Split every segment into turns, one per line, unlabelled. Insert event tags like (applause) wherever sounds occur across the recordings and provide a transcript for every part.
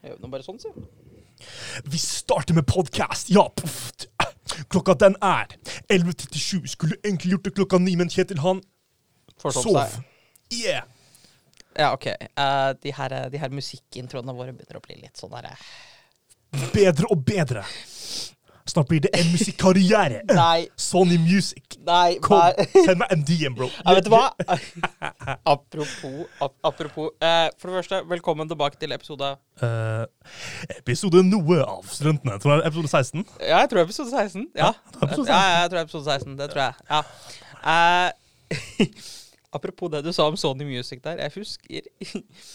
Jeg gjør nå bare sånn, sier jeg.
Vi starter med podkast! Ja, poff! Klokka den er 11.37. Skulle egentlig gjort det klokka ni, men Kjetil han
Forsov
sov.
seg.
Yeah!
Ja, OK. Eh, de, her, eh, de her musikkintroene våre begynner å bli litt sånn derre
Bedre og bedre. Snart blir det en musikkarriere.
(laughs) Nei.
Sony Music.
Nei,
Kom,
nei.
(laughs) send meg en DM, bro.
Ja, vet du
(laughs)
hva? apropos ap apropos eh, For det første, velkommen tilbake til episode
Eh, episode noe av Studentene. Tror jeg det er episode 16.
Ja, jeg tror episode 16. Ja,
det er episode 16.
ja, ja, jeg tror episode 16. Det tror jeg. Ja. Eh, (laughs) apropos det du sa om Sony Music der. Jeg husker (laughs)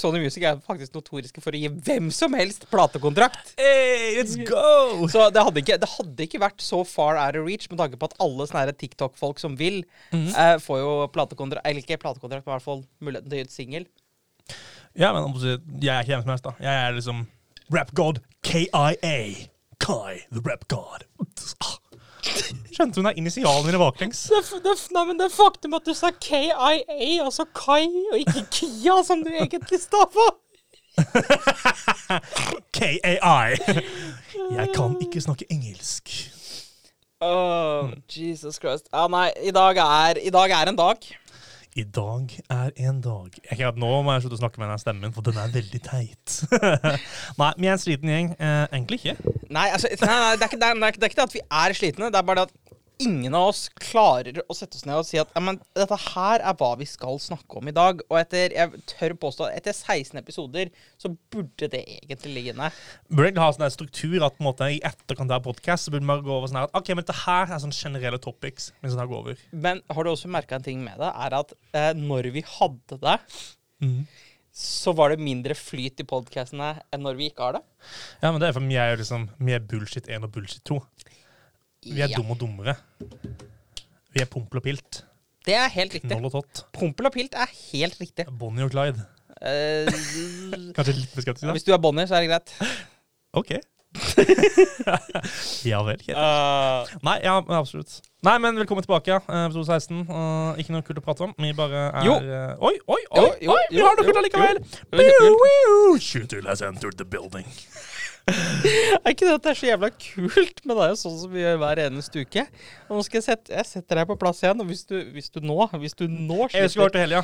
Sony Music er faktisk notoriske for å gi hvem som helst platekontrakt.
Hey, let's go!
Så det hadde, ikke, det hadde ikke vært så far out of reach med tanke på at alle sånne her TikTok-folk som vil, eh, får jo platekontrakt Eller ikke platekontrakt, men i hvert fall muligheten til å gi ut singel.
Ja, men om du sier- jeg er ikke hvem som helst, da. Jeg er liksom rap god KIA. Kai, the rap god. Ah. Skjønte hun er initialene mine baklengs?
Det, det, nei, men det faktum at du sa KIA, altså Kai, og ikke Kia, som du egentlig stava
KAI. Jeg kan ikke snakke engelsk.
Oh, Jesus Christ. Ja, nei, i dag er, i dag er en dag.
I dag er en dag jeg kan, Nå må jeg slutte å snakke med den stemmen, for den er veldig teit. (laughs) Nei, vi er en sliten gjeng. Eh, egentlig ikke.
Nei, altså, nei, nei det, er ikke, det, er, det er ikke- det er ikke det at vi er slitne, det er bare det at ingen av oss klarer å sette oss ned og si at «Ja, men dette her er hva vi skal snakke om i dag. Og etter jeg tør påstå at etter 16 episoder så burde det egentlig ligge inne.
Burde egentlig ha sånn der struktur at på en måte, i etterkant av podkast burde vi bare gå over sånn her at OK, men dette her er sånne generelle topics. Men sånn her går over.
Men har du også merka en ting med det, er at eh, når vi hadde det, så var det mindre flyt i podkastene enn når vi ikke har det.
Ja, men det er for vi er jo liksom Vi er bullshit 1 og bullshit 2. Vi er
Ja,
dumme og dummere. Vi er pompel og pilt.
Det er helt riktig.
Knoll og tott.
Pompel og pilt er helt riktig.
Bonnie og Clyde.
Eh,
Kanskje litt mer skeptisk? da?
Hvis du er Bonnie, så er det greit. (laughs)
OK. ja vel. Kjetil. Nei, ja, men absolutt. Nei, men velkommen tilbake. ja. Eh, Episode 16. Eh, ikke noe kult å prate om. Vi bare er
Jo.
eh, Oi, oi, oi!
Jo, jo,
oi vi
jo,
har noe
jo,
kult allikevel!
jo. Det er litt
Shooter has entered the building.
er ikke det at det er så jævla kult, men det er jo sånn som vi gjør hver eneste uke. Og nå skal jeg sette Jeg setter deg på plass igjen, og hvis du, hvis du nå Hvis du nå
Jeg
slipper
skulle vært til helga.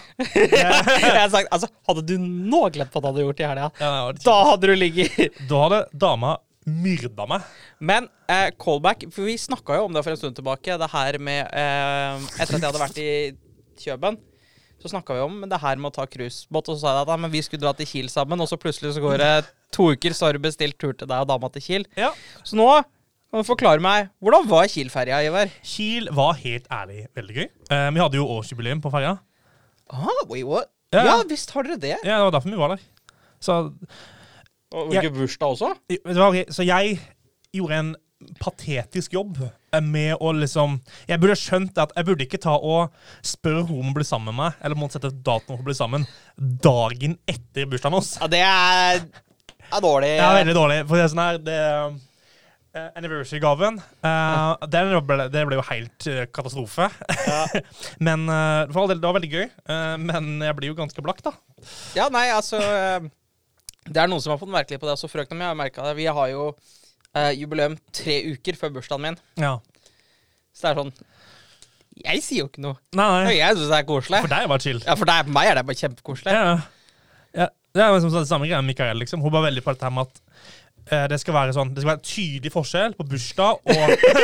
(laughs) Jeg har sagt, altså, Hadde du nå glemt hva du hadde gjort i helga,
Ja, det var
da hadde du ligget
litt- da hadde dama myrda meg.
Men eh, callback, for vi snakka jo om det for en stund tilbake, det her med eh, Etter at jeg hadde vært i Kjøben. Så snakka vi om det her med å ta cruisebåt, og så sa jeg at «Ja, men vi skulle dra til Kiel sammen. Og så plutselig så går det to uker, så har du bestilt tur til deg og dama til Kiel.
Ja.
Så nå kan du forklare meg, hvordan var Kiel-ferja, Ivar?
Kiel var helt ærlig veldig gøy. Eh, vi hadde jo årsjubileum på ferja.
Ah, wait, what?
Ja.
Ja, visst har dere det.
Ja, det var derfor vi var der. Så
Og
Ja.
ikke bursdag også?
Det var ok. Så jeg gjorde en patetisk jobb eh, med å liksom Jeg burde skjønt at jeg burde ikke ta og spørre hun om å bli sammen med meg, eller måtte sette datoen for å bli sammen, dagen etter bursdagen vår.
Ja, det er, er dårlig.
Ja, veldig dårlig. For det er sånn her det, eh, Anniversary-gaven eh, den ble, Det ble jo helt eh, katastrofe. (laughs) men eh, for all del, det var veldig gøy. eh, men jeg blir jo ganske blakk, da.
Ja, nei, altså eh, Det er noen som har fått merkelig på det også, frøkna mi. Jeg har merket det. Vi har jo eh, jubileum tre uker før bursdagen min.
Ja.
Så det er sånn Jeg sier jo ikke noe.
Nei,
Og
nei.
jeg syns det er koselig.
For deg var det chill.
Ja, For deg, meg er det bare kjempekoselig.
Ja, ja. Det er liksom det samme greia med Mikael. Liksom. Hun var veldig på dette her med at eh, det skal være sånn Det skal være en tydelig forskjell på bursdag og,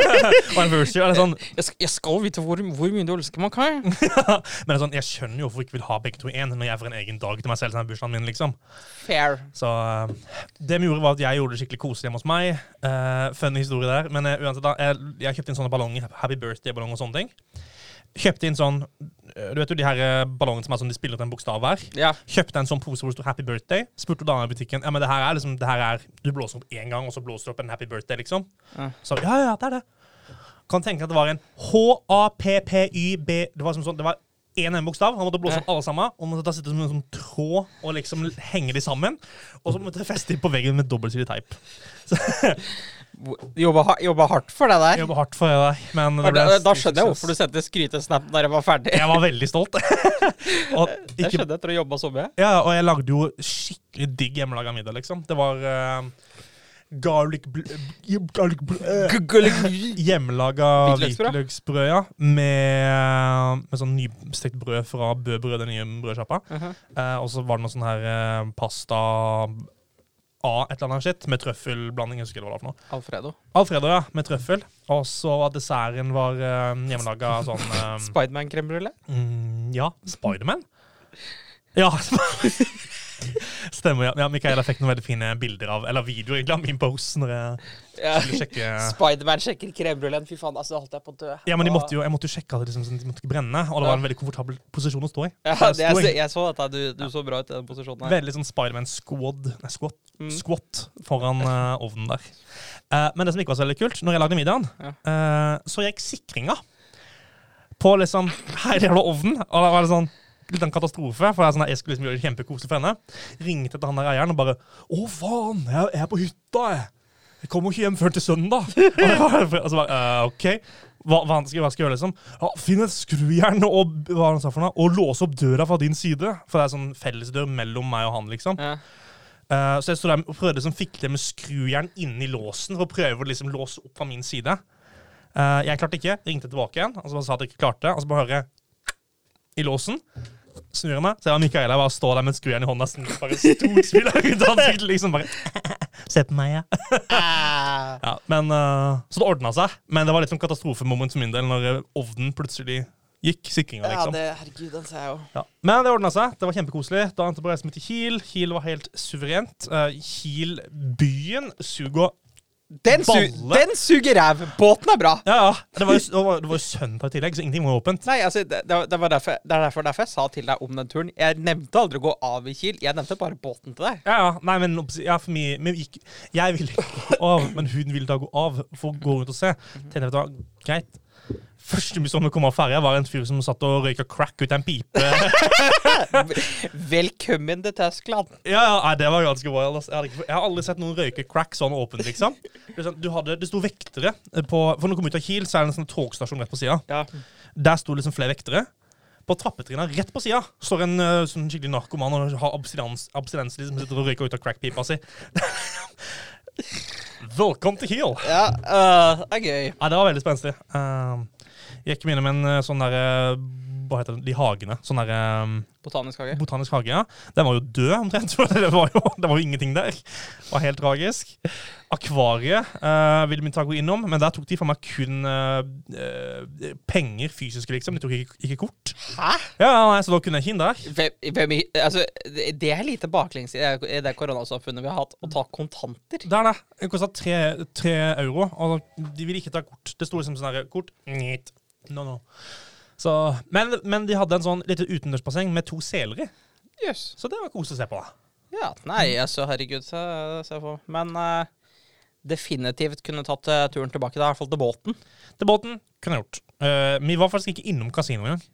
(laughs) og anniversary. Eller sånn.
Jeg skal, jeg skal vite hvor, hvor mye du elsker meg, Kai.
Men det er sånn, jeg skjønner jo hvorfor jeg ikke vil ha begge to i én når jeg får en egen dag til meg selv. Som er bursdagen min liksom
Fair.
Så eh, det vi gjorde, var at jeg gjorde det skikkelig koselig hjemme hos meg. Uh, funny historie der. Men eh, uansett, da. Jeg, jeg kjøpte inn sånne ballonger. Happy birthday-ballonger og sånne ting. Kjøpte inn sånn eh, Du vet jo de her eh, ballongene som er sånn de spiller ut en bokstav hver?
Ja.
Kjøpte en sånn pose hvor det sto 'Happy Birthday'. Spurte dama i butikken Ja, men det her er liksom Det her er Du blåser opp én gang, og så blåser du opp en 'Happy Birthday', liksom.
Ja.
Så ja, ja, det er det. Kan tenke at det var en H-A-P-P-Y-B Det var som sånn Det var én en bokstav. Han måtte blåse opp alle sammen. Og måtte da sitte som en sånn tråd og liksom henge de sammen. Og så måtte jeg feste de på veggen med dobbeltsidig teip.
Jobba, ha- jobba hardt for det
Jeg
der.
jobba hardt for det der, men det ble
Da, da skjønner jeg hvorfor du sendte skrytesnap når jeg var ferdig.
Jeg var veldig stolt. (laughs) og
Det
ikke
skjønner jeg etter å ha jobba så mye.
Ja, og jeg lagde jo skikkelig digg hjemmelaga middag, liksom. Det var eh, garlic bl eh, garlic bl eh, Hjemmelaga
Hvitløksbrød?
hvitløksbrød, ja. Med, med sånn nystekt brød fra Bø Brød, den nye brødsjappa.
Mhm.
Eh, og så var det noe sånn her eh, pasta A, et eller annet shit, med trøffelblanding. Jeg husker ikke hva det var for noe.
Alfredo.
Alfredo, ja, med trøffel. Og så var desserten var eh, hjemmelaga sånn eh,
Spiderman-crème brulé.
Mm, ja, Spiderman. Ja. Stemmer, ja. ja. Mikael har fikk noen veldig fine bilder av, eller videoer egentlig, av min pose når jeg
Ja.
skulle sjekke
Spiderman sjekker crème brulé. Fy faen, altså, da holdt jeg på å dø.
ja, men de måtte jo, Jeg måtte jo sjekke at det liksom, sånn at de måtte ikke brenne, og det var en veldig komfortabel posisjon å stå i.
Ja,
Så jeg
det, jeg,
sto
så-
i
jeg så dette. Du, du så bra ut i den posisjonen her.
Veldig sånn Spiderman-squad Nei, squat,
Mm.
squat foran eh, ovnen der. Eh, men det som ikke var så veldig kult, når jeg lagde middagen, eh, så gikk sikringa på liksom hele jævla ovnen. Og det var sånn litt av en katastrofe, for det er sånn at jeg skulle liksom gjøre det kjempekoselig for henne. Ringte til han der eieren og bare 'Å, faen, jeg jeg er på hytta, jeg'. Jeg kommer ikke hjem før til søndag. (laughs) Og jeg bare- og så bare, «Eh, ok, hva, hva skal hva skal jeg gjøre, liksom? Ja, Finn et skrujern og, hva han sa for noe, og låse opp døra fra din side. For det er sånn fellesdør mellom meg og han, liksom.
Ja.
Eh, så jeg stod der og prøvde som fikle med skrujern inni låsen for å prøve å liksom låse opp fra min side. Eh, jeg klarte ikke. Ringte tilbake igjen og så bare sa at jeg ikke klarte. Og så bare hører jeg i låsen. Snur jeg meg, ser jeg Micaela bare står der med skrujern i hånda. Sånn, bare stort smil rundt ansiktet, liksom bare (laughs) Se på meg, ja.
Ah.
ja men, eh, så det ordna seg. Men det var litt sånn katastrofemoment for min del når eh, ovnen plutselig gikk. Sikringa,
Ja,
liksom.
det, herregud, den ser jeg jo.
Ja. Men det ordna seg. Det var kjempekoselig. Da endte jeg på reise med til Kiel. Kiel var helt suverent. Eh, Kiel-byen suger
Den, su
Balle.
den suger ræv! Båten er bra!
Ja, ja. Det var jo, det var, det var jo søndag i tillegg, så ingenting var åpent.
Nei, altså, det, det var- det var derfor, det er derfor, derfor jeg sa til deg om den turen. Jeg nevnte aldri å gå av i Kiel, jeg nevnte bare båten til deg.
Ja, ja. Nei, men obs- ja, for meg, men gikk, jeg ville ikke gå av, men hun ville da gå av for å gå rundt og se. Tenkte jeg, vet du hva, greit. Første som kom av ferja, var en fyr som satt og røyka crack ut av en pipe.
Velkommen til Tyskland.
(laughs) Ja, ja, nei, det var ganske wild. ass. Jeg, hadde ikke, jeg har aldri sett noen røyke crack sånn åpent, liksom. Det er sånn, Du hadde, det sto vektere på For når du kom ut av Kiel, så er det en sånn togstasjon rett på sida.
Ja.
Der sto liksom flere vektere. På trappetrinna rett på sida står en eh, sånn skikkelig narkoman og har abstinens, abstinens liksom, sitter og røyker ut av crackpipa si. (laughs) Velkommen til Kiel!
Ja, øh, det er gøy.
Nei, det var veldig spenstig. Eh, gikk mine med en eh, sånn derre Hva heter det? De hagene. Sånn derre
Botanisk hage.
Botanisk hage, ja. Den var jo død omtrent. (laughs) for Det var jo, det var jo ingenting der. Det var helt tragisk. Akvariet eh, ville min ta gå innom, men der tok de for meg kun eh, eh, penger fysiske, liksom. De tok ikke, ikke kort.
Hæ?
Ja, ja, nei, Så da kunne jeg ikke inn der.
Hvem, hvem, i- altså, det det er lite baklengs i det- i det koronasamfunnet vi har hatt, å ta kontanter.
Der, der. Det kosta tre, tre euro, og de ville ikke ta kort. Det sto liksom sånn her kort. Nytt. No, no. Så, men, men de hadde en sånn lite utendørsbasseng med to seler i,
Jøss.
så det var kos å se på.
Ja, nei, altså, herregud, se, se på. Men øh, definitivt kunne tatt øh, turen tilbake, da, i hvert fall til båten.
Til båten kunne jeg gjort. Eh, vi var faktisk ikke innom kasinoet engang.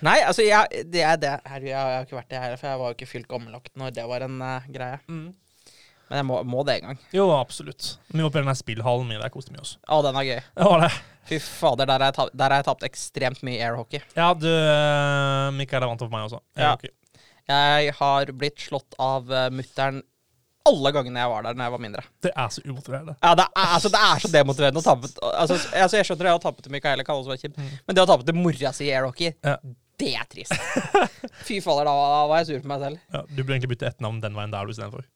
Nei, altså, jeg, det er det. Herregud, jeg har ikke vært det her, for jeg var jo ikke fylt gammel nok når det var en øh, greie. Men jeg må, må det en gang.
Jo, absolutt. Vi var på den der spillhallen min. Der koste vi oss.
Å, den er gøy.
Det var det.
Fy fader, der har jeg tapt, der har jeg tapt ekstremt mye airhockey.
Ja, du eh, Mikael er vant til for meg også.
Ja.
Ja. ok.
Jeg har blitt slått av uh, mutter'n alle gangene jeg var der da jeg var mindre.
Det er så umotiverende.
Ja, det, er, altså, det er så demotiverende å tape til- altså, s- altså, Jeg skjønner det å tape til Micaela kan også være kjipt, men det å tape til mora si i airhockey,
Ja.
det er (laughs) trist. Fy fader, da, da var jeg sur på meg selv.
Ja, du burde egentlig bytte ett navn den veien der du (laughs) istedenfor.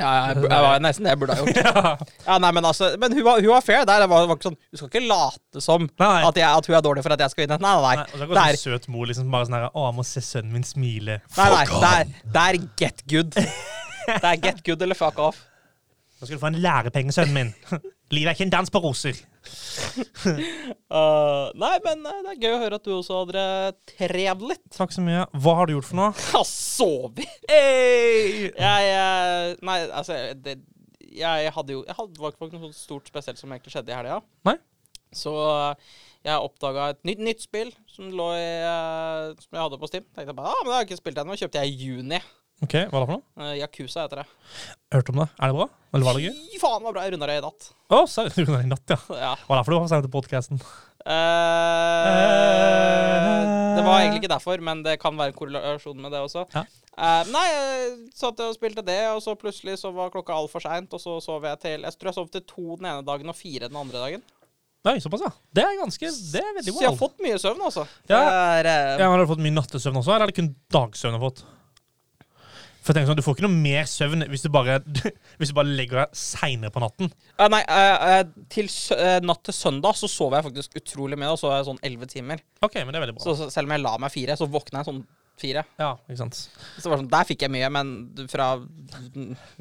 Ja, jeg, bu- jeg var nesten det jeg burde ha gjort.
Ja.
(laughs) Ja, nei, Men altså, men hun var, hun var fair der. Det var, det var ikke sånn, Du skal ikke late som
Nei.
at, jeg, at hun er dårlig for at jeg skal vinne. Nei, nei, nei.
Nei, og så er det
Det er-
en søt mor liksom bare sånn her Å, jeg må se sønnen min smile.
Nei, nei,
Fuck
det
off.
er, det er get (laughs) good. Det er get good eller fuck off.
Nå skal du få en lærepenge, sønnen min. (laughs) Livet er ikke en dans på roser.
Uh, nei, men eh, det er gøy å høre at du også hadde trevd (laughs) litt.
Takk så mye. Hva har du gjort for noe?
Har sovet!
Hey!
Jeg eh, Nei, altså det, Jeg hadde jo Jeg hadde, det var ikke noe sånt stort spesielt som egentlig skjedde i helga.
Nei?
Så eh, jeg oppdaga et nytt, nytt spill som, lå i, eh, som jeg hadde på Steam. Tenkte bare, ah, men det har jeg ikke spilt ennå. Kjøpte jeg i juni.
OK, hva er det for noe?
Eh, Yakuza heter det.
Hørte om det. Er det bra? Eller var det gøy?
Fy faen, var bra. Jeg runda det i natt.
Å, seriøst? Du kan i natt, ja.
Ja.
Hva er det for noe? Hva er det for podkasten?
Eh, det var egentlig ikke derfor, men det kan være en korrelasjon med det også.
Ja.
Eh, nei, jeg satt og spilte det, og så plutselig så var klokka altfor seint, og så sov jeg til Jeg tror jeg sov til to den ene dagen og fire den andre dagen.
Nei, såpass, ja. Det er ganske Det er veldig
Så jeg har
wild.
fått mye søvn, altså.
Ja.
Det er, eh,
Ja, men har du fått mye nattesøvn også, eller er det kun dagsøvn du har fått? For tenk sånn, Du får ikke noe mer søvn hvis du bare, (laughs) hvis du bare legger deg seinere på natten.
eh, nei, eh, eh, til sø eh, natt til søndag så sov jeg faktisk utrolig mye. Da sov jeg sånn elleve timer.
OK, men det er veldig bra.
Så, så selv om jeg la meg fire, så våkna jeg sånn fire.
Ja, ikke sant.
Så det var sånn, Der fikk jeg mye, men fra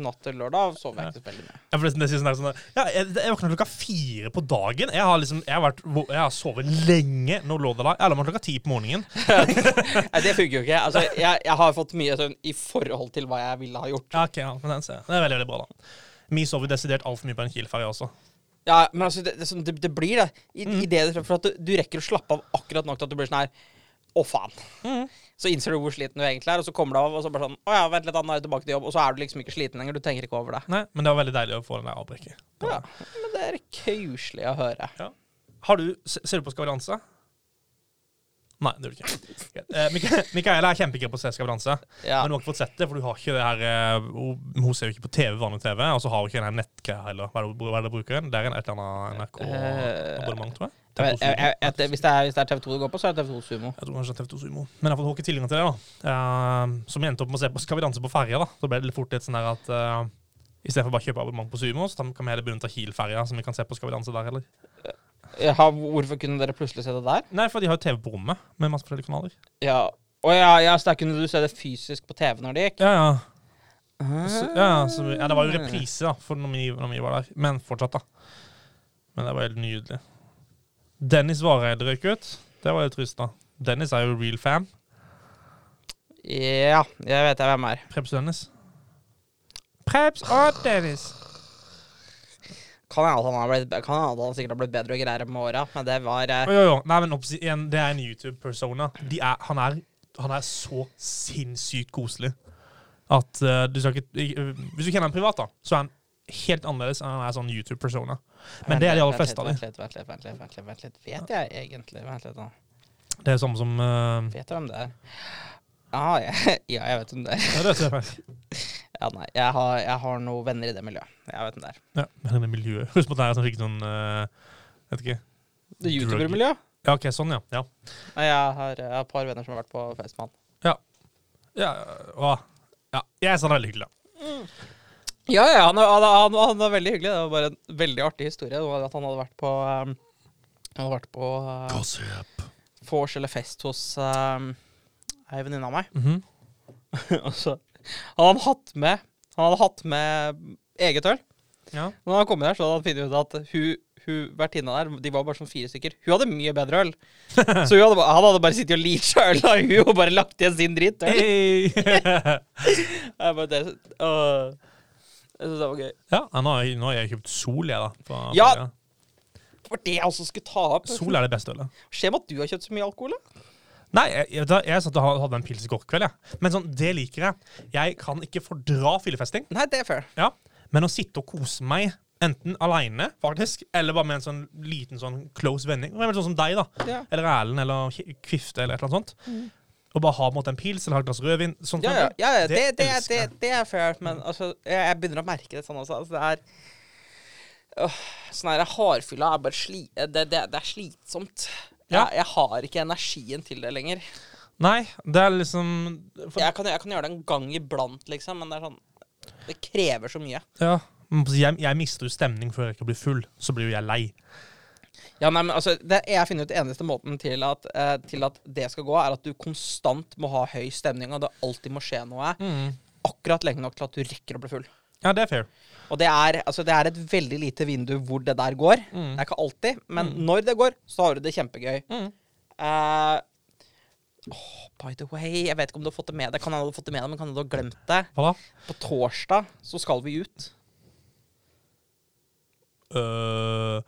natt til lørdag sov jeg ikke så veldig mye.
Ja, for det, det sier sånn der, sånn der, ja, jeg, jeg våkna klokka fire på dagen. Jeg har liksom, jeg har, vært, jeg har sovet lenge. Nå lå det da. Jeg la meg klokka ti på morgenen.
Nei, det funker jo ikke. Altså, jeg, jeg har fått mye søvn i forhold til hva jeg ville ha gjort.
Ja, ok, ja, men den ser jeg. Det er veldig, veldig bra, da. Vi sover desidert altfor mye på en Kiel-ferje også.
Ja, men altså, det, det, sånn- det, det blir det. I, i det for at du, du rekker å slappe av akkurat nok til at du blir sånn her Å, faen. Så innser du hvor sliten du egentlig er, og så kommer du av, og så bare sånn Å ja, vent litt, da, nå er jeg tilbake til jobb. Og så er du liksom ikke sliten lenger. Du tenker ikke over det.
Nei, men det var veldig deilig å få den der avbrekket. Det var-
Ja, men det er koselig å høre.
Ja. Har du, se- ser du på Skal vi danse? Nei, det gjør du ikke. Greit. Eh, Mika- Mikaela er kjempegira på å se Skal vi danse,
Ja.
men du har ikke fått sett det, for du har ikke det her eh, Hun hun ser jo ikke på TV, vanlig TV, og så har hun ikke den her nettgreia heller. Hva er det, hva er det bruker den? Det er en et eller annet
Eh,
NRK-abonnement, tror jeg.
Jeg, jeg, jeg, jeg, hvis, det er, hvis det er TV2 det går på, så er det TV2 Sumo.
Jeg tror kanskje TV2 Sumo. Men jeg har fått ikke tilgang til det, da. Eh, som jeg endte opp med å se på Skal vi danse på ferja, da. Så ble det litt fort litt sånn der at uh, istedenfor bare å kjøpe abonnement på Sumo, så kan vi heller begynne å ta Kiel-ferja, som vi kan se på Skal vi danse der, eller?
Jaha, hvorfor kunne dere plutselig se det der?
Nei, for de har jo TV på rommet med masse forskjellige kanaler.
Ja. Å ja, ja, så der kunne du se det fysisk på TV når det gikk?
Ja, ja. Så, ja, så, vi- ja, det var jo reprise, da, for når vi, når vi var der. Men fortsatt, da. Men det var helt nydelig. Dennis Vareid røyk ut. Det var jo trist, da. Dennis er jo real fan.
Ja, jeg vet jeg hvem er.
Prebz og Dennis. Prebz og Dennis.
Kan hende at han, har blitt, kan hende at han sikkert har blitt bedre og greiere med åra, men det var eh,
Jo, jo, jo. Nei, men oppsi- igjen, det er en YouTube-persona. De er- Han, er- han er så sinnssykt koselig at eh, du skal ikke ik- eh, Hvis du kjenner han privat, da, så er han helt annerledes enn han er sånn YouTube-persona. Men det er de aller
Vent litt,
fleste av
Vent litt, vent litt, vent litt, vent litt, vent litt. Vet jeg egentlig Vent litt, da.
Det er samme som eh,
Vet jeg hvem det er? Ah, ja, (laughs) ja, jeg vet hvem det er.
Ja, det ser jeg.
Ja, nei, jeg har, jeg har noen venner i det miljøet. Jeg vet hvem det er.
Ja, men det miljøet Husk på at det er sånn skikkelig sånn eh, Vet ikke.
Det YouTuber-miljøet?
Ja, OK, sånn, ja. Ja.
Nei, Jeg har jeg har et par venner som har vært på fest med han.
ja, å, ja. Jeg syns han er sånn veldig hyggelig. da.
Ja, ja, han, han, han, han var veldig hyggelig. Det var bare en veldig artig historie. Det var at han hadde vært på um, Han hadde vært på uh, vors eller fest hos um, ei venninne av meg.
Mhm.
(laughs) Og så han hadde hatt med Han hadde hatt med eget øl.
ja.
Men når han kom inn her, så hadde han funnet ut at hun, hun vertinna der, de var bare sånn fire stykker. Hun hadde mye bedre (laughs) øl. Så hun hadde, ba- han hadde bare sittet og leacha øl av hun og bare lagt igjen sin dritt. øl. Jeg bare, det, øh, jeg synes det var gøy.
(laughs) ja nå, har jeg, nå har jeg kjøpt Sol, jeg, da. på-
Ja. Det var det jeg også skulle ta opp.
Sol er det beste ølet.
Skjer med at du har kjøpt så mye alkohol, da?
Nei, jeg, jeg, da- jeg satt og ha- hadde en pils i går kveld, jeg. Men sånn, det liker jeg. Jeg kan ikke fordra fyllefesting,
Nei, det er fair.
ja. men å sitte og kose meg, enten aleine, faktisk, eller bare med en sånn liten sånn close vending, sånn som deg, da,
Ja. Mm.
eller Erlend, eller Ki- Kvifte, eller et eller annet sånt, og bare ha mot en pils, eller ha et glass rødvin, sånn
Ja, ja, ja, ja. Det, det, er-
elsker
det,
jeg.
det er fair, men altså, jeg, jeg begynner å merke det sånn også. Altså, det er øh, Sånn her hardfylla er bare sli, det, det, det er slitsomt.
Ja.
Jeg, jeg har ikke energien til det lenger.
Nei, det er liksom for,
Jeg kan, jeg kan gjøre det en gang iblant, liksom, men det er sånn Det krever så mye.
ja. Man må si, Jeg, jeg mister jo stemning før jeg ikke blir full. Så blir jo jeg lei.
Ja, nei, men altså, det Jeg finner ut eneste måten til at, eh, til at det skal gå, er at du konstant må ha høy stemning, og det alltid må skje noe akkurat lenge nok til at du rekker å bli full.
Ja, det er fair.
Og det er, altså, det er et veldig lite vindu hvor det der går.
Mm.
Det er ikke alltid, men når det går, så har du det kjempegøy. Eh, åh, by the way, jeg vet ikke om du har fått det med deg. Kan hende du har fått det med deg, men kan hende du har glemt det.
Hva da?
På torsdag så skal vi ut.
Øh,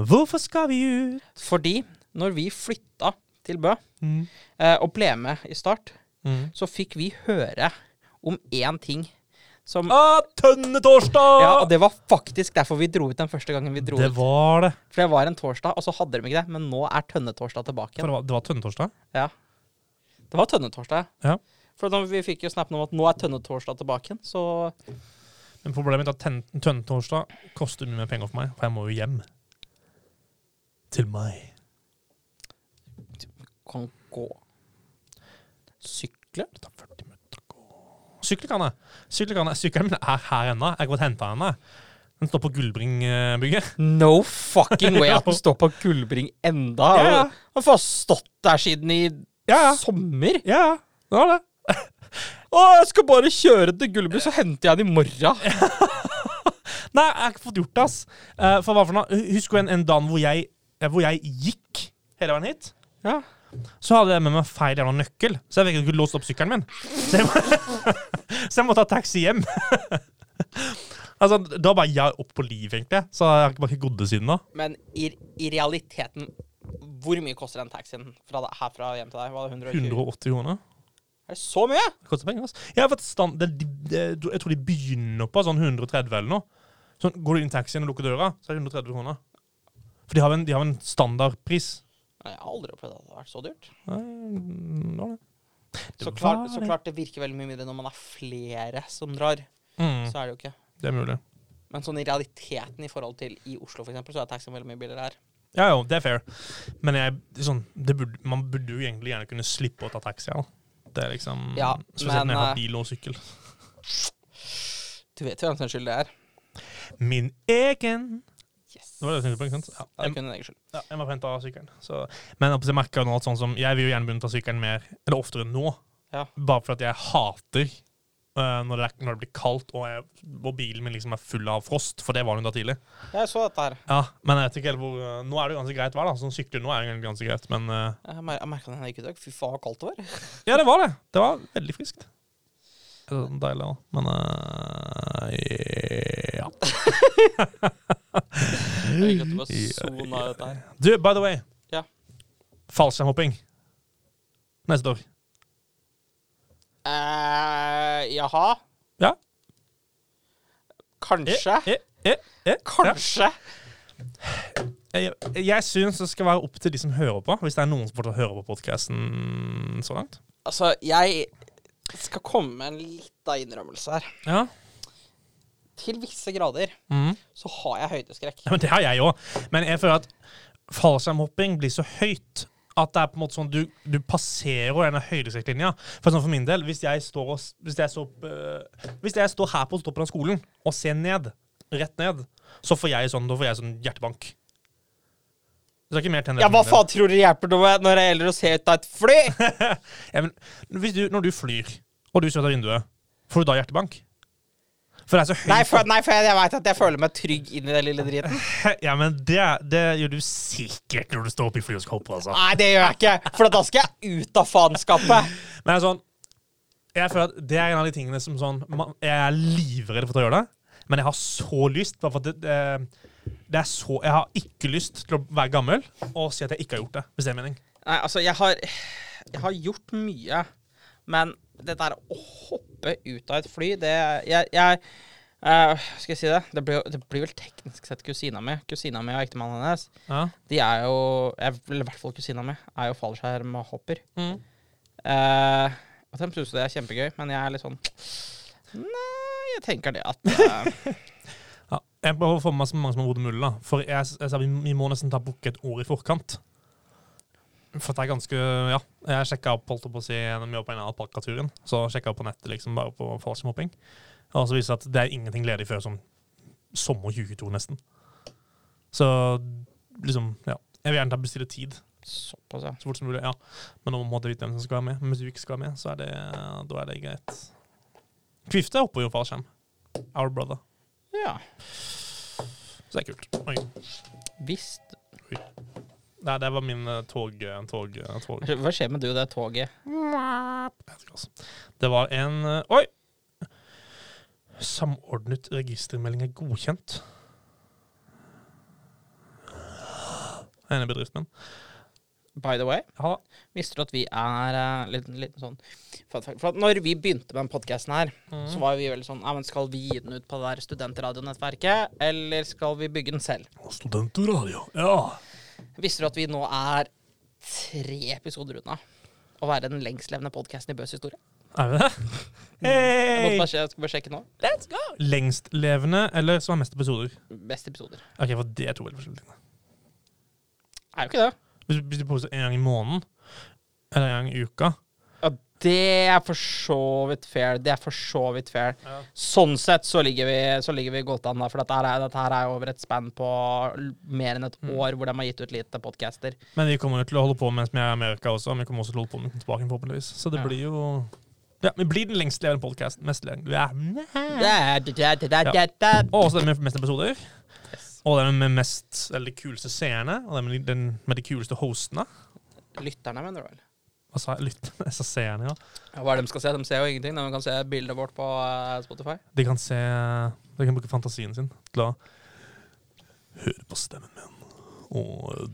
Hvorfor skal vi ut?
Fordi når vi flytta til Bø
Mm.
eh, og ble med i Start, så fikk vi høre om én ting som
Ah, Tønnetorsdag!
Ja, og det var faktisk derfor vi dro ut den første gangen vi dro
det
ut.
var det.
For det var en torsdag, og så hadde de ikke det. Men nå er tønnetorsdag tilbake
For
igjen.
det var, det var Tønnetorsdag?
Ja. Det var tønnetorsdag.
Ja.
For da vi fikk jo snappen om at nå er tønnetorsdag tilbake igjen, så
Men problemet er at ten- Tønnetorsdag koster mye mer penger for meg, for jeg må jo hjem. Til meg.
kan gå. Sykle?
Det tar 40 minutter å gå. Sykle kan jeg. Sykle kan jeg. Sykkelen min er her ennå. Jeg har gått og henta henne. Den står på Gullbringbygget.
No fucking (laughs) way at den står på Gullbring enda.
Ja, ja.
Han får ha stått der siden i
Ja, ja.
sommer.
Ja, ja. Det var det.
Å, jeg skal bare kjøre til Gullbring, så henter jeg den i morgen.
Nei, jeg har ikke fått gjort det, ass. Eh, for hva for noe? Husker du en, en dag hvor jeg, eh, hvor jeg gikk hele veien hit?
Ja.
Så hadde jeg med meg feil jævla nøkkel, så jeg fikk ikke låst opp sykkelen min. Så jeg, må, (laughs) så jeg må ta taxi hjem. (laughs) altså, da var jeg opp på liv, egentlig. Så jeg har ikke bare ikke gått det siden da.
Men i, i realiteten, hvor mye koster den taxien fra, deg- herfra hjem til deg? Var det 120?
180 kroner.
Er det så mye?
Det koster penger, ass. Jeg, har fått stand, det, det, jeg tror de begynner på sånn 130 eller noe. Så går du inn i taxien og lukker døra, så er det 130 kroner. For de har en, de har en standardpris.
Nei, Jeg har aldri opplevd at det har vært så dyrt.
Nei, det var det.
Så
Det var
klart, så
det.
klart det virker veldig mye mindre når man er flere som drar.
Mm,
Så er det jo ikke.
det er mulig.
Men sånn i realiteten i forhold til i Oslo, for eksempel, så er taxien veldig mye billigere her.
Ja, jo, det er fair. Men jeg, sånn, det burde, man burde jo egentlig gjerne kunne slippe å ta taxi. Ja. Det er liksom
Ja,
Spesielt
men,
når jeg
eh,
har bil og sykkel.
Du vet jo hvem sin skyld det er.
Min egen
Yes.
Det var det jeg tenkte på, ikke sant? Ja.
Det er
Jeg,
kun din egen skyld.
ja, jeg må hente av sykkelen. Så. Men jeg merker jo nå at sånn som Jeg vil jo gjerne begynne å ta sykkelen mer, eller oftere nå.
Ja.
Bare fordi jeg hater eh, når, det, er- når det blir kaldt og, jeg, og bilen min liksom er full av frost, for det var den da tidlig.
Jeg så dette her.
Ja, Men jeg vet ikke helt hvor eh, Nå er det jo ganske greit vær, da. Sånn sykler nå er det egentlig ganske greit, men eh,
Jeg mer- jeg merka det da jeg gikk ut i dag. Fy faen, så kaldt det
(laughs)
var.
Ja, det var det. Det var veldig friskt. Det var Deilig, da. Men eh, ja.
Jeg gikk ut og bare sona av dette her.
Du, by the way.
Ja.
Fallskjermhopping. Neste år.
Eh, jaha.
Ja.
Kanskje.
Eh, eh, eh.
Kanskje.
Ja. Jeg, jeg syns det skal være opp til de som hører på, hvis det er noen som fortsatt hører på podkasten så langt.
Altså, jeg skal komme med en lita innrømmelse her.
Ja.
Til visse grader
Mm.
så har jeg høydeskrekk.
Ja, men det har jeg òg. Men jeg føler at fallskjermhopping blir så høyt at det er på en måte sånn du, du passerer denne høydeskrekklinja. For sånn for min del, hvis jeg står, og, s- hvis jeg står, opp, øh, hvis jeg står her på toppen av skolen og ser ned, rett ned, så får jeg sånn, da får jeg sånn hjertebank. Det er ikke mer til enn det
Ja,
for
hva
min del.
faen tror du hjelper noe når jeg gjelder å se ut av et fly?
(laughs) Ja, men, hvis du, når du flyr, og du ser ut av vinduet, får du da hjertebank? For det er så høyt
Nei, for, nei, for jeg, jeg veit at jeg føler meg trygg inn i den lille driten.
(laughs) Ja, men det, det gjør du sikkert når du står oppe i flyet og skal hoppe, altså.
Nei, det gjør jeg ikke, for da skal jeg ut av faenskapet.
Men sånn Jeg føler at det er en av de tingene som sånn man- Jeg er livredd for å gjøre det, men jeg har så lyst. Bare for at det, det, det er så, jeg har ikke lyst til å være gammel og si at jeg ikke har gjort det. Hvis det er mening.
Nei, altså, jeg har, jeg har gjort mye, men det der å hoppe ut av et fly, det Jeg, jeg eh, Skal jeg si det? Det blir, jo- det blir vel teknisk sett kusina mi. Kusina mi og ektemannen hennes,
Ja.
de er jo jeg, Eller i hvert fall kusina mi, er jo fallskjermhopper.
Mm.
Eh, og de syns jo det er kjempegøy, men jeg er litt sånn Nei, jeg tenker det at eh, (laughs)
Ja. Jeg prøver å få med meg så mange som er hodet mulig, da. For jeg, jeg sa vi, vi må nesten ta booke et år i forkant. For at det er ganske Ja. Jeg sjekka opp holdt jeg på å si, når vi var på en av alpakkaturen. Så sjekka jeg opp på nettet liksom bare på fallskjermhopping. Og så viser det seg at det er ingenting ledig før sånn sommer 2022, nesten. Så liksom Ja. Jeg vil gjerne ta bestille tid
Såpass, ja.
så fort som mulig. ja. Men nå må jeg vite hvem som skal være med. Men hvis du ikke skal være med, så er det, da er det greit. Kvifte hopper jo fallskjerm. Our brother.
ja.
Så det er kult. Oi.
Visst.
Nei, det var min eh, tog... eh, tog, eh, tog.
Hva skjer med du og det toget?
Jeg vet ikke, altså. Det var en eh, Oi! Samordnet registermelding er godkjent. den ene bedriften min.
By the way,
Ja da.
visste du at vi er eh, litt, litt sånn for at, for at når vi begynte med den podkasten her, så var vi veldig sånn ja, men Skal vi gi den ut på det der studentradionettverket, eller skal vi bygge den selv?
Studenteradio. Ja.
Visste du at vi nå er tre episoder unna å være den lengstlevende podkasten i Bøs historie?
Er (laughs) vi det?
Jeg,
Mm.
måtte
Hey!
bare, sje- jeg skal bare sjekke nå.
Lengstlevende eller som har mest episoder?
Beste episoder.
Ok, for det er to veldig forskjellige ting.
Er jo ikke det.
Hvis du, hvis du poster en gang i måneden, eller en gang i uka
Ja, det er for så vidt fair. Det er for så vidt fair.
Ja.
Sånn sett så ligger vi, så ligger vi godt an, da, for dette her, er, dette her er over et spann på l- mer enn et år hvor de har gitt ut lite podcaster.
Men vi kommer jo til å holde på mens vi er i Amerika også. Men vi kommer også til å holde på med den tilbake forhåpentligvis. Så det
Ja.
blir jo ja, Vi blir den lengstlevende podkasten. Mest levende.
Da,
Ja.
da, da, da, da, da.
Og også den med mest episoder.
Yes.
Og den med mest, eller de kuleste seerne. Og den med, de- den med de kuleste hostene.
Lytterne, mener du vel?
Hva sa jeg? Lytt, jeg sa seerne, ja.
Ja, Hva er det de skal se? De ser jo ingenting. De kan se bildet vårt på eh, Spotify.
De kan se De kan bruke fantasien sin til å høre på stemmen min og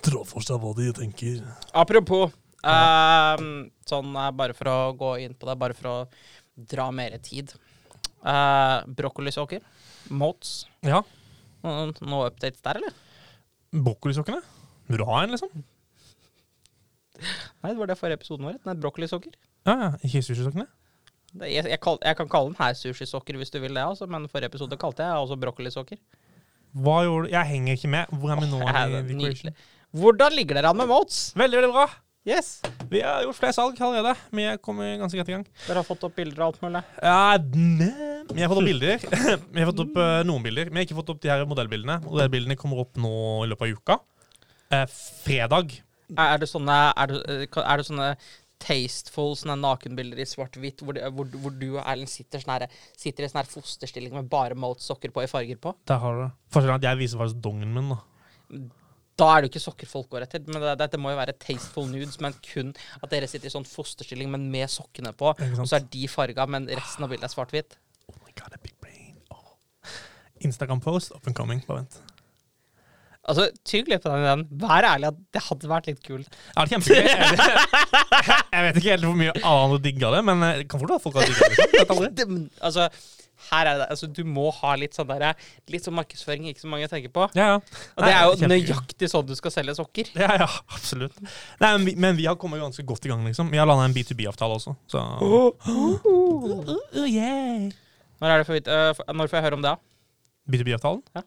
dra for seg hva de tenker.
Apropos, ehm, sånn eh, bare for å gå inn på det, bare for å dra mer tid. Uh, Brokkolisokker, Motes.
Ja.
Noen noen updates der, eller?
Brokkolisokkene? Vil du ha en, liksom?
Nei, det var det forrige episoden vår. Den er brokkolisokker.
Ja, ja. Ikke sushisokkene?
Det- Jeg, jeg, kall, jeg kan kalle den her sushisokker hvis du vil det, altså, men forrige episode kalte jeg også brokkolisokker.
Hva gjorde du? Jeg henger ikke med. Hvor er vi nå?
Åh,
i
det er
The Equation?
Hvordan ligger dere an med Motes?
Veldig, veldig bra.
Yes.
Vi har gjort flere salg allerede. Vi er kommet ganske greit i gang.
Dere har fått opp bilder og alt mulig.
Ja, ne- vi har fått opp bilder. (laughs) vi har fått opp eh, noen bilder. Vi har ikke fått opp de her modellbildene. Modellbildene kommer opp nå i løpet av uka. Eh, fredag.
Er er det sånne, er det, eh, er det sånne tasteful sånne nakenbilder i svart-hvitt hvor, det- hvor, hvor du og Erlend sitter, sånn her- sitter i sånn her fosterstilling med bare Motes-sokker på i farger på?
Der har du det. Forskjellen er at jeg viser faktisk dongen min. Oh da.
Da er det jo ikke sokker folk går etter. Men det, dette må jo være tasteful nudes, men kun at dere sitter i sånn fosterstilling, men med sokkene på.
Ikke sant?
Og så er de farga, men resten av bildet er svart-hvitt.
Oh my god, a big brain. Oh. Instagram-post, up and coming. Bare vent.
Altså, tygg litt på den ideen. Vær ærlig at det hadde vært litt kult.
Ja, det
(laughs)
er kjempegøy. Jeg vet- Jeg vet ikke helt hvor mye annet du digga det, men eh, det kan fort være at folk har digga det. liksom. Jeg vet aldri.
(laughs) Det, men, altså, her er det, altså, du må ha litt sånn der, litt sånn markedsføring ikke så mange tenker på.
Ja, ja.
Og det er jo
Nei, kjempegøy.
nøyaktig sånn du skal selge sokker.
(laughs) Ja, ja, absolutt. Nei, men, vi, men vi har kommet ganske godt i gang, liksom. Vi har landa en B2B-avtale også, så (gasps)
Når, er det for, vidt- øh, for, når får jeg høre om det? da?
B2B-avtalen?
Ja.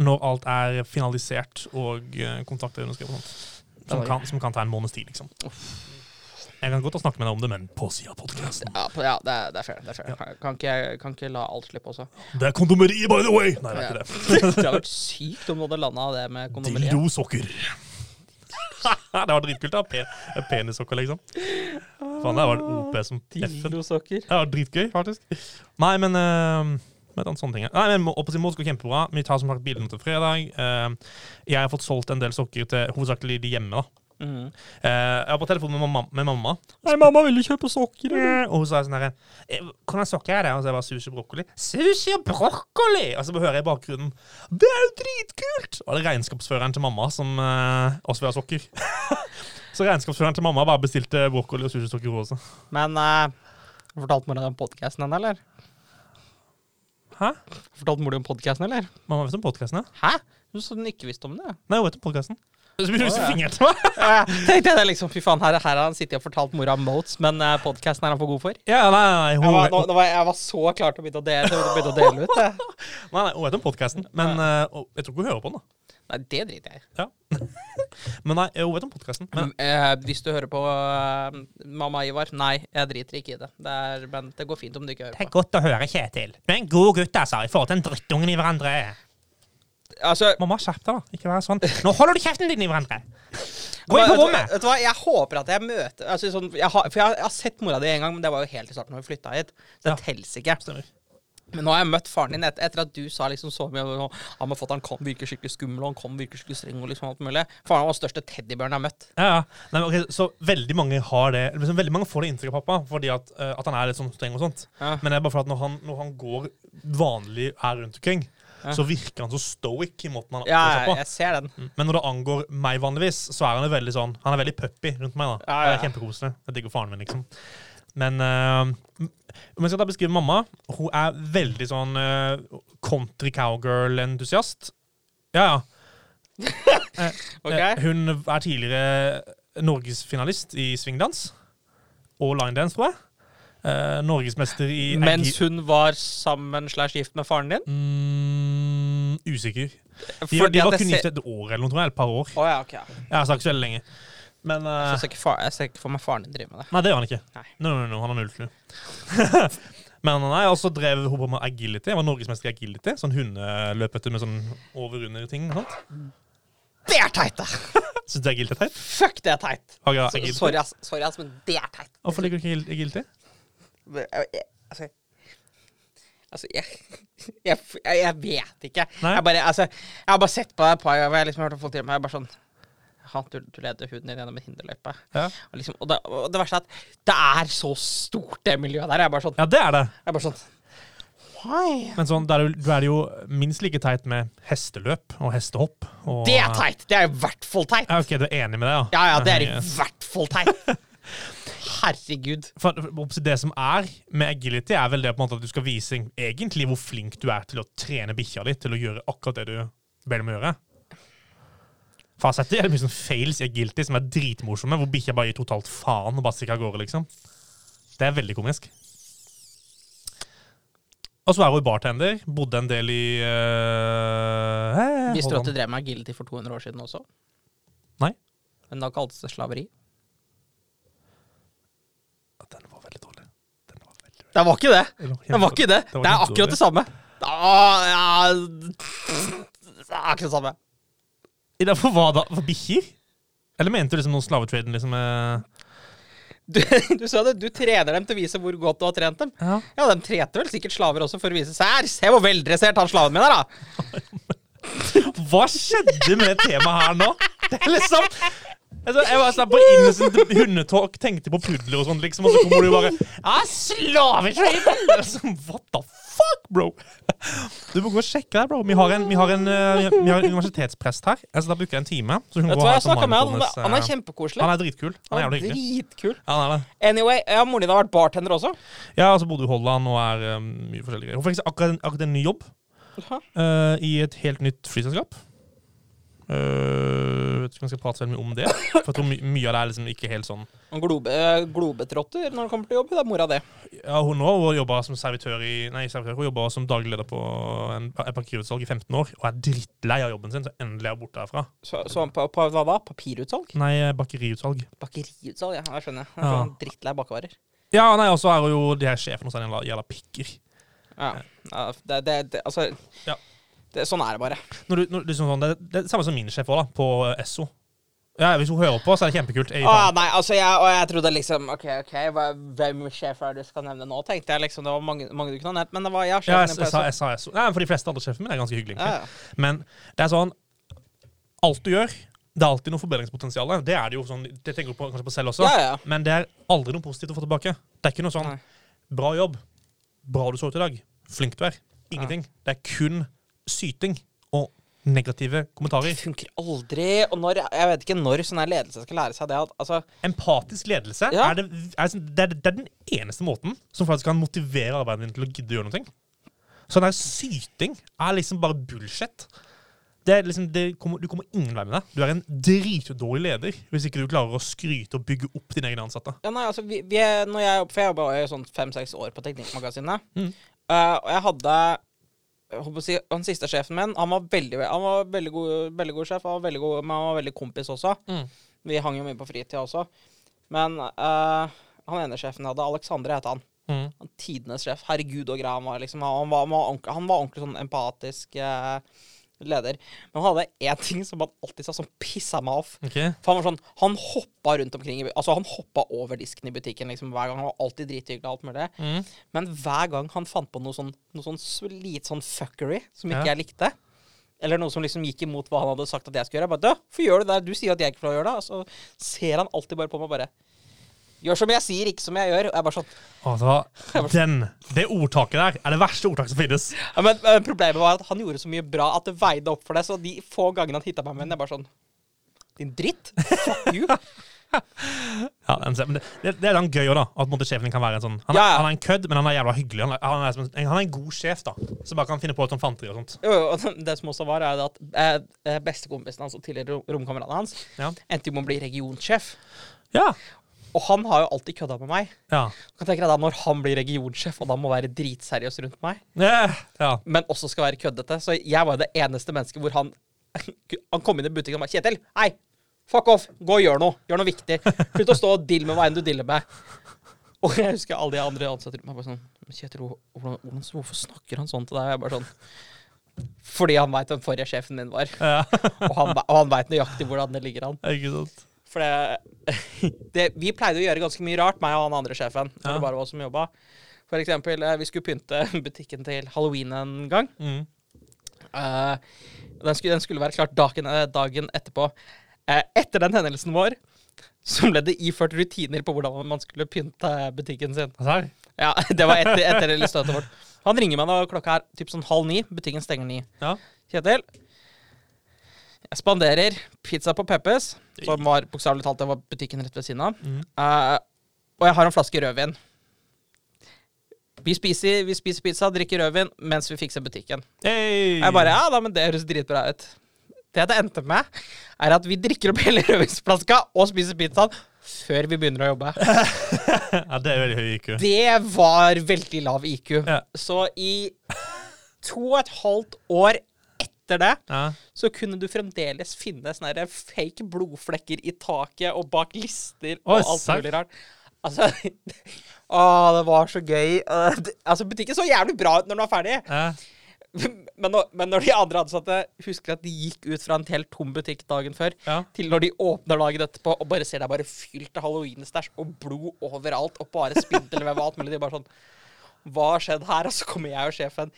Når alt er finalisert og eh, kontrakter er underskrevet og sånt. Som
Oi.
kan, som kan ta en måneds tid, liksom. Jeg kan godt ha snakket med deg om det, men på sida av podkasten.
Ja, på, ja det, er- det er fair. Det er fair. Kan, ikke, kan ikke la alt slippe også.
Det er kondomeriet, by the way! Nei,
Ja. (laughs)
det er ikke det.
Det hadde vært sykt om du hadde landa det med kondomeriet.
Dildosokker. (laughs) det var dritkult. da Pe- Penissokker, liksom. Faen, der var det OP som F-en.
Dildosokker.
Det var dritgøy, faktisk. Nei, men uh, med den sånne ting. Nei, men må- opp til Moss går kjempebra. Vi tar som sagt bildene til fredag. Eh, jeg har fått solgt en del sokker til hovedsakelig de hjemme. da
Mhm.
Eh, jeg var på telefon med mamma. Med mamma. Nei, mamma vil du kjøpe sokker? Og hun sa sånn herre Hvordan sokker er det? Og så jeg bare sushi og brokkoli. Sushi og brokkoli! Og så bare hører jeg i bakgrunnen Det er jo dritkult! Og det er regnskapsføreren til mamma som eh, også vil ha sokker. så regnskapsføreren til mamma bare bestilte brokkoli og sushisokker hun også.
Men eh, fortalte mora di om podkasten henne, eller?
Hæ?
Fortalte mor di om podkasten, eller?
Mamma vet om podkasten, ja?
Hæ? Hun sa hun ikke visste om det.
Nei, hun vet om podkasten. Så begynner hun å vise
Å, ja.
fingeren til meg.
Eh, (laughs) tenkte jeg det liksom, fy faen, her, her har han sittet og fortalt mora om Motes, men uh, podkasten er han for god for.
(laughs) Ja, nei, nei,
Jeg
hun,
var,
vet-
nå, nå var, jeg- jeg var så klar til å begynne å dele, til å begynne å dele ut. jeg.
nei, nei, hun vet om podkasten, men eh, hun- jeg tror ikke hun hører på den. da
Nei, det driter jeg i.
(laughs) Men nei, hun vet om podkasten. Men
Eh, hvis du hører på eh, mamma Ivar, nei, jeg driter ikke i det. det er, men det går fint om du ikke hører på.
godt å høre, Kjetil. Du er en god gutt, altså, i forhold til den drittungen i hverandre.
Altså,
Mamma, skjerp deg, da. Ikke vær sånn. Nå holder du kjeften din i hverandre!
Vet du hva- Vet du hva, Jeg håper at jeg møter altså, sånn, jeg har, For jeg, har- jeg har sett mora di en gang, men det var jo helt i starten da vi flytta hit. Det
Ja.
telles ikke.
Stemmer.
Men nå har jeg møtt faren din et, etter at du sa liksom så mye om ja, men fatter'n kan virke skikkelig skummel, og han kan virke skikkelig streng og liksom alt mulig. Faren var den største teddybjørnen jeg har møtt.
Ja, ja. Nei, men, ok, så veldig mange har det liksom, Veldig mange får det inntrykk av pappa fordi at, eh, at han er litt sånn streng og sånt.
Ja.
Men det er bare for at når han, når han går vanlig er rundt omkring,
Ja.
så virker han så stoic i måten han
Ja,
oppfører seg på.
jeg ser den.
Men når det angår meg vanligvis, så er han jo veldig sånn Han er veldig puppy rundt meg. da
Ja, ja, ja.
Det er Kjempekoselig. Jeg digger faren min, liksom. Men øh, om jeg skal da beskrive mamma Hun er veldig sånn øh, country cowgirl-entusiast. Ja, ja. Eh,
Ok?
Hun er tidligere norgesfinalist i svingdans. Og linedance, tror jeg. Eh, Norgesmester i
Mens hun var sammen slash gift med faren din?
mm, Usikker. De,
Fordi
de
at
var
jeg
kun gift
ser-
et år eller noe, tror jeg. Eller et par år.
Å ja, ok. ja.
Jeg har sagt så veldig lenge. Men eh,
Så jeg ser ikke fa- jeg ser ikke for meg faren din drive med det.
Nei, det gjør han ikke.
Nei.
No, no, no, han har null flu. (laughs) Men nei, og så drev hun på med agility. Jeg var norgesmester i agility. Sånn hundeløpete med sånn over-under-ting. og sånt.
Det er teit, da!
Syns du agility er teit?
Fuck, det er teit!
Har jeg
Så-
agility?
Sorry, ass, sorry, ass men det er teit.
Hvorfor liker du ikke agil- agility?
Altså, altså jeg, (laughs) jeg, jeg, jeg vet ikke.
Nei.
Jeg, bare, altså, jeg har bare sett på det et par ganger, og jeg har liksom hørt om folk til meg jeg er bare sånn han du, du leder huden din gjennom en hinderløype.
Ja.
Og, liksom, og, det, og det verste er at det er så stort, det miljøet der. Jeg er bare sånn,
Ja, det er det.
jeg er bare sånn Why?
Men sånn, da er det jo- da er det jo minst like teit med hesteløp og hestehopp. Og,
Det er teit! Det er i hvert fall teit!
Ja, OK, du er enig med det, ja?
Ja, ja, det er i
(laughs) Yes.
hvert fall
(laughs)
teit! Herregud.
for, for det som er med agility, er vel det på en måte at du skal vise egentlig hvor flink du er til å trene bikkja di til å gjøre akkurat det du ber dem å gjøre. For jeg har sett det, det er mye sånn fails i agility som er dritmorsomme, hvor bikkja bare gir totalt faen og bare stikker av gårde, liksom. Det er veldig komisk. Og så er hun bartender. Bodde en del i uh,
Visste du at du drev med agility for 200 år siden også?
Nei.
Men da kaltes det slaveri.
Den var veldig dårlig. Den var veldig
Det var ikke det!
dårlig.
Det var ikke det.
Det var
Det er
kjempedårlig.
akkurat det samme. Ah, ja. Det er akkurat det samme.
I det- For hva da? For bikkjer? Eller mente du liksom noen slavetraden liksom eh,
Du, (laughs) du sa det, du trener dem til å vise hvor godt du har trent dem.
Ja.
Ja, de trente vel sikkert slaver også for å vise seg her. Se hvor veldressert han slaven min er, da!
Hva skjedde med det temaet her nå? Det er liksom altså, Jeg var sånn på innocent hundetalk, tenkte på pudler og sånn, liksom, og så kommer du bare Ja, slavetraden! Det er sånn, What the fuck, bro? Du må gå og sjekke det, bro. Vi har en, vi har en, eh, vi har en universitetsprest her. Altså, Da bruker jeg en time. Så hun
Vet
går
du
og
hva,
har
jeg
sånn
snakka med han.
mindfulness, eh,
Han er kjempekoselig.
han er dritkul. Han er jævlig hyggelig.
dritkul.
Ja, han er det.
Anyway, ja, moren din har vært bartender også.
Ja, og så bodde hun i Holland og er eh, mye forskjellige greier. Hun fikk seg akkurat, en- akkurat en ny jobb. eh, i et helt nytt flyselskap. Eh, vet ikke om jeg skal prate så veldig mye om det. For jeg tror my mye av det er liksom ikke helt sånn
Han globe, eh, globetrotter når han kommer til jobb. Det er mora, det.
Ja, Hun nå hun jobber som servitør i Nei, servitør, hun jobber som daglig leder på en, et parkeringsutsalg i 15 år og er drittlei av jobben sin, så endelig er hun borte herfra.
Så, så han på, på hva da? Papirutsalg?
Nei, eh, bakeriutsalg.
Bakeriutsalg, ja. Jeg skjønner. Jeg
Ja.
skjønner. Drittlei bakevarer.
Ja, nei, og så er hun jo de her sjefene hos henne jævla pikker.
Ja. ja det, det, det, altså
Ja.
det, Sånn er det bare.
Når du, når, du- liksom sånn, det, det er det samme som min sjef også, da, på eh, Esso. Ja, Hvis hun hører på, så er det kjempekult. Jeg gir
Å,
faen.
nei, altså jeg, og jeg trodde liksom OK, ok, hva- hvem sjef er det du skal nevne nå, tenkte jeg liksom. Det var mange, mange du kunne ha nevnt, men det var ja,
Ja,
sjefen
jeg,
din sånn, på SO.
jeg, sa- jeg sa Esso. Nei, for de fleste andre sjefene mine er ganske hyggelige. egentlig.
Ja, ja.
Men det er sånn Alt du gjør, det er alltid noe forbedringspotensial. Det er det jo sånn, det tenker du på, kanskje på selv også,
Ja, ja.
men det er aldri noe positivt å få tilbake. Det er ikke noe sånn
Nei.
Bra jobb. Bra du så ut i dag. Flink du er. Ingenting. Det er kun syting og negative
Det
kommentarer.
funker aldri. Og når, jeg vet ikke når sånn her ledelse skal lære seg det. At, altså,
Empatisk ledelse
Ja.
er, det, er, sånn- det, er, det er den eneste måten som faktisk kan motivere arbeidet din til å gidde å gjøre noe. Sånn her syting er liksom bare bullshit. Det er liksom, det kommer, du kommer ingen vei med det. Du er en dritdårlig leder hvis ikke du klarer å skryte og bygge opp dine egne ansatte.
ja, nei, altså vi, vi er, når jeg, For jeg jobba jo sånn fem-seks år på Teknikkmagasinet.
Mm.
Eh, og jeg hadde jeg håper å si, Han siste sjefen min han var veldig, han var veldig, god, veldig god sjef, han var veldig god, men han var veldig kompis også. Vi hang jo mye på fritida også. Men eh, han ene sjefen jeg hadde, Alexandre het han.
Mm.
han Tidenes sjef. Herregud og greia han var. liksom, Han var, han var, ordentlig, han var ordentlig sånn empatisk eh, leder. Men han hadde én ting som han alltid sa som pissa meg off.
Ok.
For Han var sånn, han hoppa rundt omkring i bu- Altså han hoppa over disken i butikken liksom, hver gang. Han var alltid drithyggelig og alt mulig.
Mm.
Men hver gang han fant på noe sånn, noe sånn s- litt sånn fuckery som ikke
Ja.
jeg likte, eller noe som liksom gikk imot hva han hadde sagt at jeg skulle gjøre, jeg bare, «Dø, hvorfor gjør du det? Du sier at jeg ikke får lov til å gjøre det. Og så ser han alltid bare på meg og bare Gjør som jeg sier, ikke som jeg gjør. Og jeg er bare sånn
Altså, den, det ordtaket der er det verste ordtaket som finnes.
ja, men, men problemet var at han gjorde så mye bra at det veide opp for det. Så de få gangene han hitta meg med den, jeg bare sånn Din dritt! Fuck you!
Ja, den ser- men det, det, det er da gøy òg, da. At på en måte sjefen din kan være en sånn Han er,
Ja, ja.
han er en kødd, men han er jævla hyggelig. Han er, han er, som en- han er en god sjef, da. Som bare kan finne på litt sånn fanteri og sånt.
Jo, jo, og det som også var, er det at eh, eh, bestekompisen hans og tidligere rom- romkameraten hans
Ja.
endte jo med å bli regionsjef.
Ja.
Og han har jo alltid kødda med meg.
Ja.
Kan tenke deg da Når han blir regionsjef og da må være dritseriøs rundt meg,
Eh, ja.
men også skal være køddete Så jeg var jo det eneste mennesket hvor han (laughs) Han kom inn i butikken og bare 'Kjetil, hei! Fuck off! Gå og gjør noe! Gjør noe viktig! Slutt å stå og dille med hva enn du diller med!' Og jeg husker alle de andre ansatte rundt meg bare sånn 'Men Kjetil, hvor- hvordan, hvordan, hvorfor snakker han sånn til deg?' Og jeg bare sånn Fordi han veit hvem forrige sjefen min var,
Ja. (laughs)
og han, og han veit nøyaktig hvordan det ligger an.
Ikke sant.
For det, (laughs) det, vi pleide å gjøre ganske mye rart, meg og han andre sjefen. Når
Ja.
det bare var oss som jobba. For eksempel, eh, vi skulle pynte (laughs) butikken til halloween en gang.
Mm.
Eh, den, skulle, den skulle være klart dagen, eh, dagen etterpå. Eh, etter den hendelsen vår så ble det iført rutiner på hvordan man skulle pynte butikken sin.
Altså her.
Ja, (laughs) Det var etter, etter det støtet vårt. Han ringer meg når klokka er typ sånn halv ni. Butikken stenger ni.
Ja.
Kjetil. Jeg spanderer pizza på Peppes, som var bokstavelig talt det var butikken rett ved siden av.
Mhm.
Eh, og jeg har en flaske rødvin. Vi spiser, vi spiser pizza, drikker rødvin mens vi fikser butikken.
Hey.
Jeg bare, ja da, men det høres dritbra ut. Det det endte med, er at vi drikker opp hele (laughs) rødvinsflaska og spiser pizzaen før vi begynner å jobbe.
(laughs) ja, det er veldig høy IQ.
Det var veldig lav IQ.
Ja.
Så i to og et halvt år etter det
Ja.
så kunne du fremdeles finne sånne her fake blodflekker i taket og bak lister og
Oi,
alt
sant?
mulig rart. Altså (laughs) Å, det var så gøy. Eh, det- Altså, butikken så jævlig bra ut når den var ferdig.
Ja.
(laughs) Men når, men når de andre ansatte husker at de gikk ut fra en helt tom butikk dagen før,
Ja.
til når de åpner dagen etterpå og bare ser det er bare fylt av halloweenstæsj og blod overalt og bare spindelvev og alt mulig, de bare sånn Hva har skjedd her? Og så kommer jeg og sjefen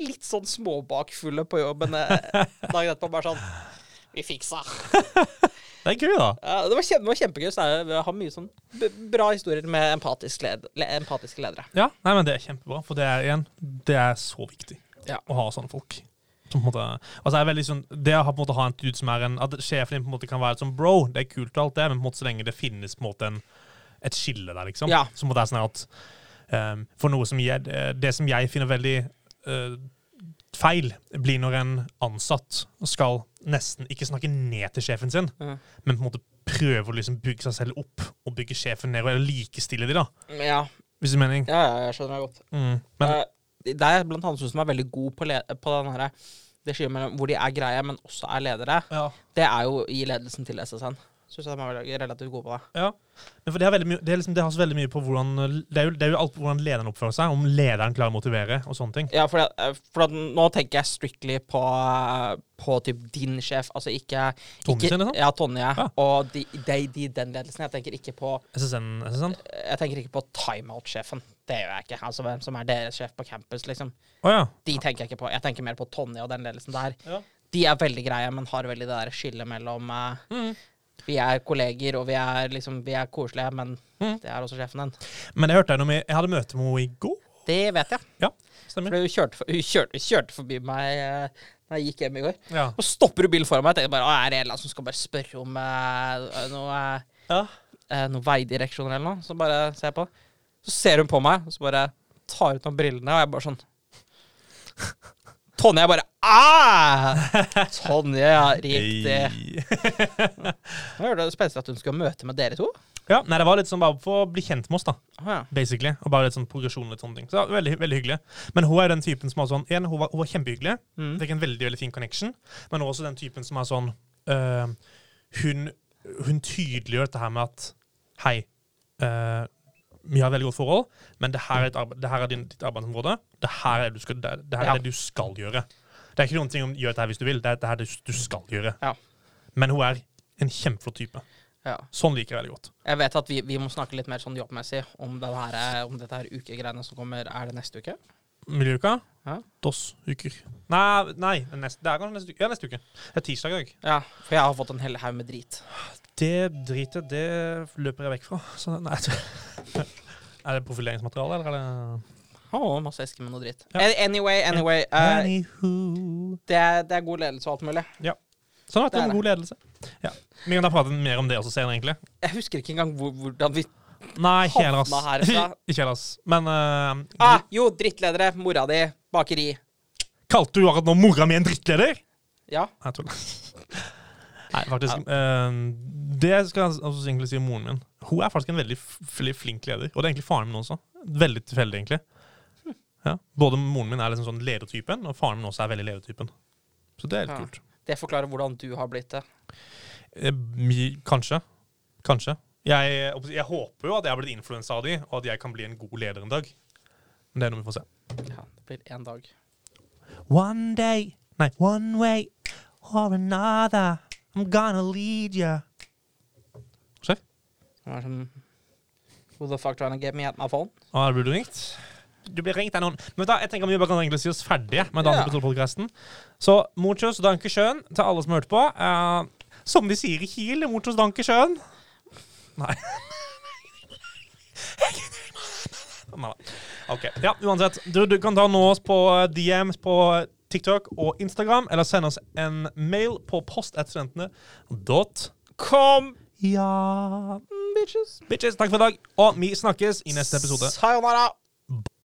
litt sånn småbakfulle på jobben eh, dagen etterpå, bare sånn Vi fiksa.
Det er gøy, da.
Ja, det, var kjempe, det var kjempegøy. Så er det- vi har mye sånn b bra historier med empatiske, led le empatiske ledere.
Ja, nei, men Det er kjempebra, for det er igjen, det er så viktig
Ja.
å ha sånne folk. Som på en måte, altså er veldig sånn, det å ha på en måte ha en dude som er en At sjefen din på en måte kan være sånn bro, det er kult og alt det, men på en måte så lenge det finnes på en måte en, et skille der, liksom.
Ja.
Som på en måte er sånn her at ehm, For noe som jeg, det som jeg finner veldig eh, feil, blir når en ansatt skal nesten ikke snakke ned til sjefen sin,
Mhm.
men på en måte prøve å liksom bygge seg selv opp og bygge sjefen ned, og likestille de da,
Ja,
hvis du mener.
ja, ja jeg skjønner det godt.
Mm. Men
Eh, det er blant annet som er veldig god på, le på den her, det skillet mellom hvor de er greie, men også er ledere.
ja.
Det er jo i ledelsen til SSN. Syns jeg de er veldig- relativt gode på det.
Ja. Men for det, har veldig mye, det, er liksom, det har så veldig mye på hvordan Det er jo, det er jo alt på hvordan lederen oppfører seg, om lederen klarer å motivere og sånne ting.
Ja, for, det- eh, for at nå tenker jeg strictly på, eh, på typ din sjef, altså ikke
Tonje
ikke-
sin, liksom?
Ja, Tonje.
Ja.
Og de, de, de, den ledelsen. Jeg tenker ikke på
SSN, SSN?
Jeg tenker ikke på timeout-sjefen. Det gjør jeg ikke. Altså hvem som er deres sjef på campus, liksom.
Å ja.
De tenker jeg ikke på. Jeg tenker mer på Tonje og den ledelsen der.
Ja.
De er veldig greie, men har veldig det der skillet mellom eh,
Mm.
Vi er kolleger, og vi er, liksom, vi er koselige, men
Mm.
det er også sjefen din.
Men jeg hørte deg noe med Jeg hadde møte med henne i går.
Det vet jeg.
Stemmer.
For hun kjørte, for- hun kjørte, hun kjørte forbi meg eh, da jeg gikk hjem i går.
Ja.
Så stopper hun bilen foran meg. Jeg tenker bare, «Å, Er det en eller annen som skal bare spørre om eh, noe, eh,
Ja.
eh, noe veidireksjoner eller noe? Så bare ser jeg på. Så ser hun på meg, og så bare tar ut noen brillene, og jeg bare sånn Tonje jeg bare «Ah!» Tonje, ja, riktig. Nå er det spesielt at hun skal møte med dere to.
ja. Nei, det var litt sånn bare for å bli kjent med oss, da.
Å ja.
Basically. Og bare litt sånn progresjon og litt sånne ting. Så det var veldig, veldig hyggelig. Men hun er den typen som er sånn En, hun var, hun var kjempehyggelig.
Mm.
Fikk en veldig veldig fin connection. Men også den typen som er sånn øh, hun, hun tydeliggjør dette her med at Hei, øh, vi har et veldig godt forhold, men det her er, et arbeid, det her er din, ditt arbeidsområde. Det her er, det du skal, det, det her
Ja.
er det du skal gjøre. Det er ikke noen ting om gjør dette her hvis du vil. Det er det her du, du skal gjøre.
Ja.
Men hun er en kjempeflott type.
ja.
Sånn liker jeg veldig godt.
Jeg vet at vi, vi må snakke litt mer sånn jobbmessig om, den her, eh, om dette her ukegreiene som kommer. Er det neste uke?
Miljøuka?
Ja.
Dos uker. Nei, nei neste, det er kanskje neste uke. Ja, neste uke. Det er tirsdag i dag.
Ja, for jeg har fått en hel haug med drit.
Det dritet, det løper jeg vekk fra. Så nei, (laughs) er det profileringsmateriale, eller er det
Å, masse esker med noe dritt.
Ja.
Eh, Anyway, anyway. eh,
Anywho.
det, er, det er god ledelse og alt mulig.
Sånn at
Det er
det er en
det.
god ledelse. Ja. Vi kan da prate mer om det også senere, egentlig.
Jeg husker ikke engang hvor, hvordan vi
Nei, ikke
Havna
heller, ass. (laughs)
herfra.
ikke heller, ass. Men eh,
ah, Jo, drittledere. Mora di. Bakeri.
kalte du akkurat nå mora mi en drittleder?
Ja.
Nei, jeg tuller. Nei, faktisk. eh, det skal jeg også egentlig si om moren min. Hun er faktisk en veldig f- fl- flink leder. Og det er egentlig faren min også. Veldig tilfeldig, egentlig. Ja. Både moren min er liksom sånn ledertypen, og faren min også er veldig ledertypen. Så det er litt
Ja.
kult.
Det forklarer hvordan du har blitt det.
Eh, mi- Kanskje. Kanskje. Jeg, jeg håper jo at jeg har blitt influensa av de, og at jeg kan bli en god leder en dag. Men det er noe vi får se.
Ja, det blir en dag.
One day, nei, one way or another, I'm gonna lead you. Se.
Det var sånn Who the fuck trying to get me at my phone?
Ah, blir du ringt? Du blir ringt av noen. Men da, jeg tenker vi bare kan egentlig si oss ferdige med
Ja.
Dansk Petrol-podkasten. Så muchos danke schön til alle som hørte på. Eh, som vi sier i Kiel, muchos danke schön. Nei. (laughs) Nei. OK. Ja, uansett. Du, du kan ta nå oss på DMs på TikTok og Instagram, eller sende oss en mail på post1studentene.com.
Kom! Mm,
Ja Bitches. Bitches. Takk for i dag. Og vi snakkes i neste episode.
Sayonara!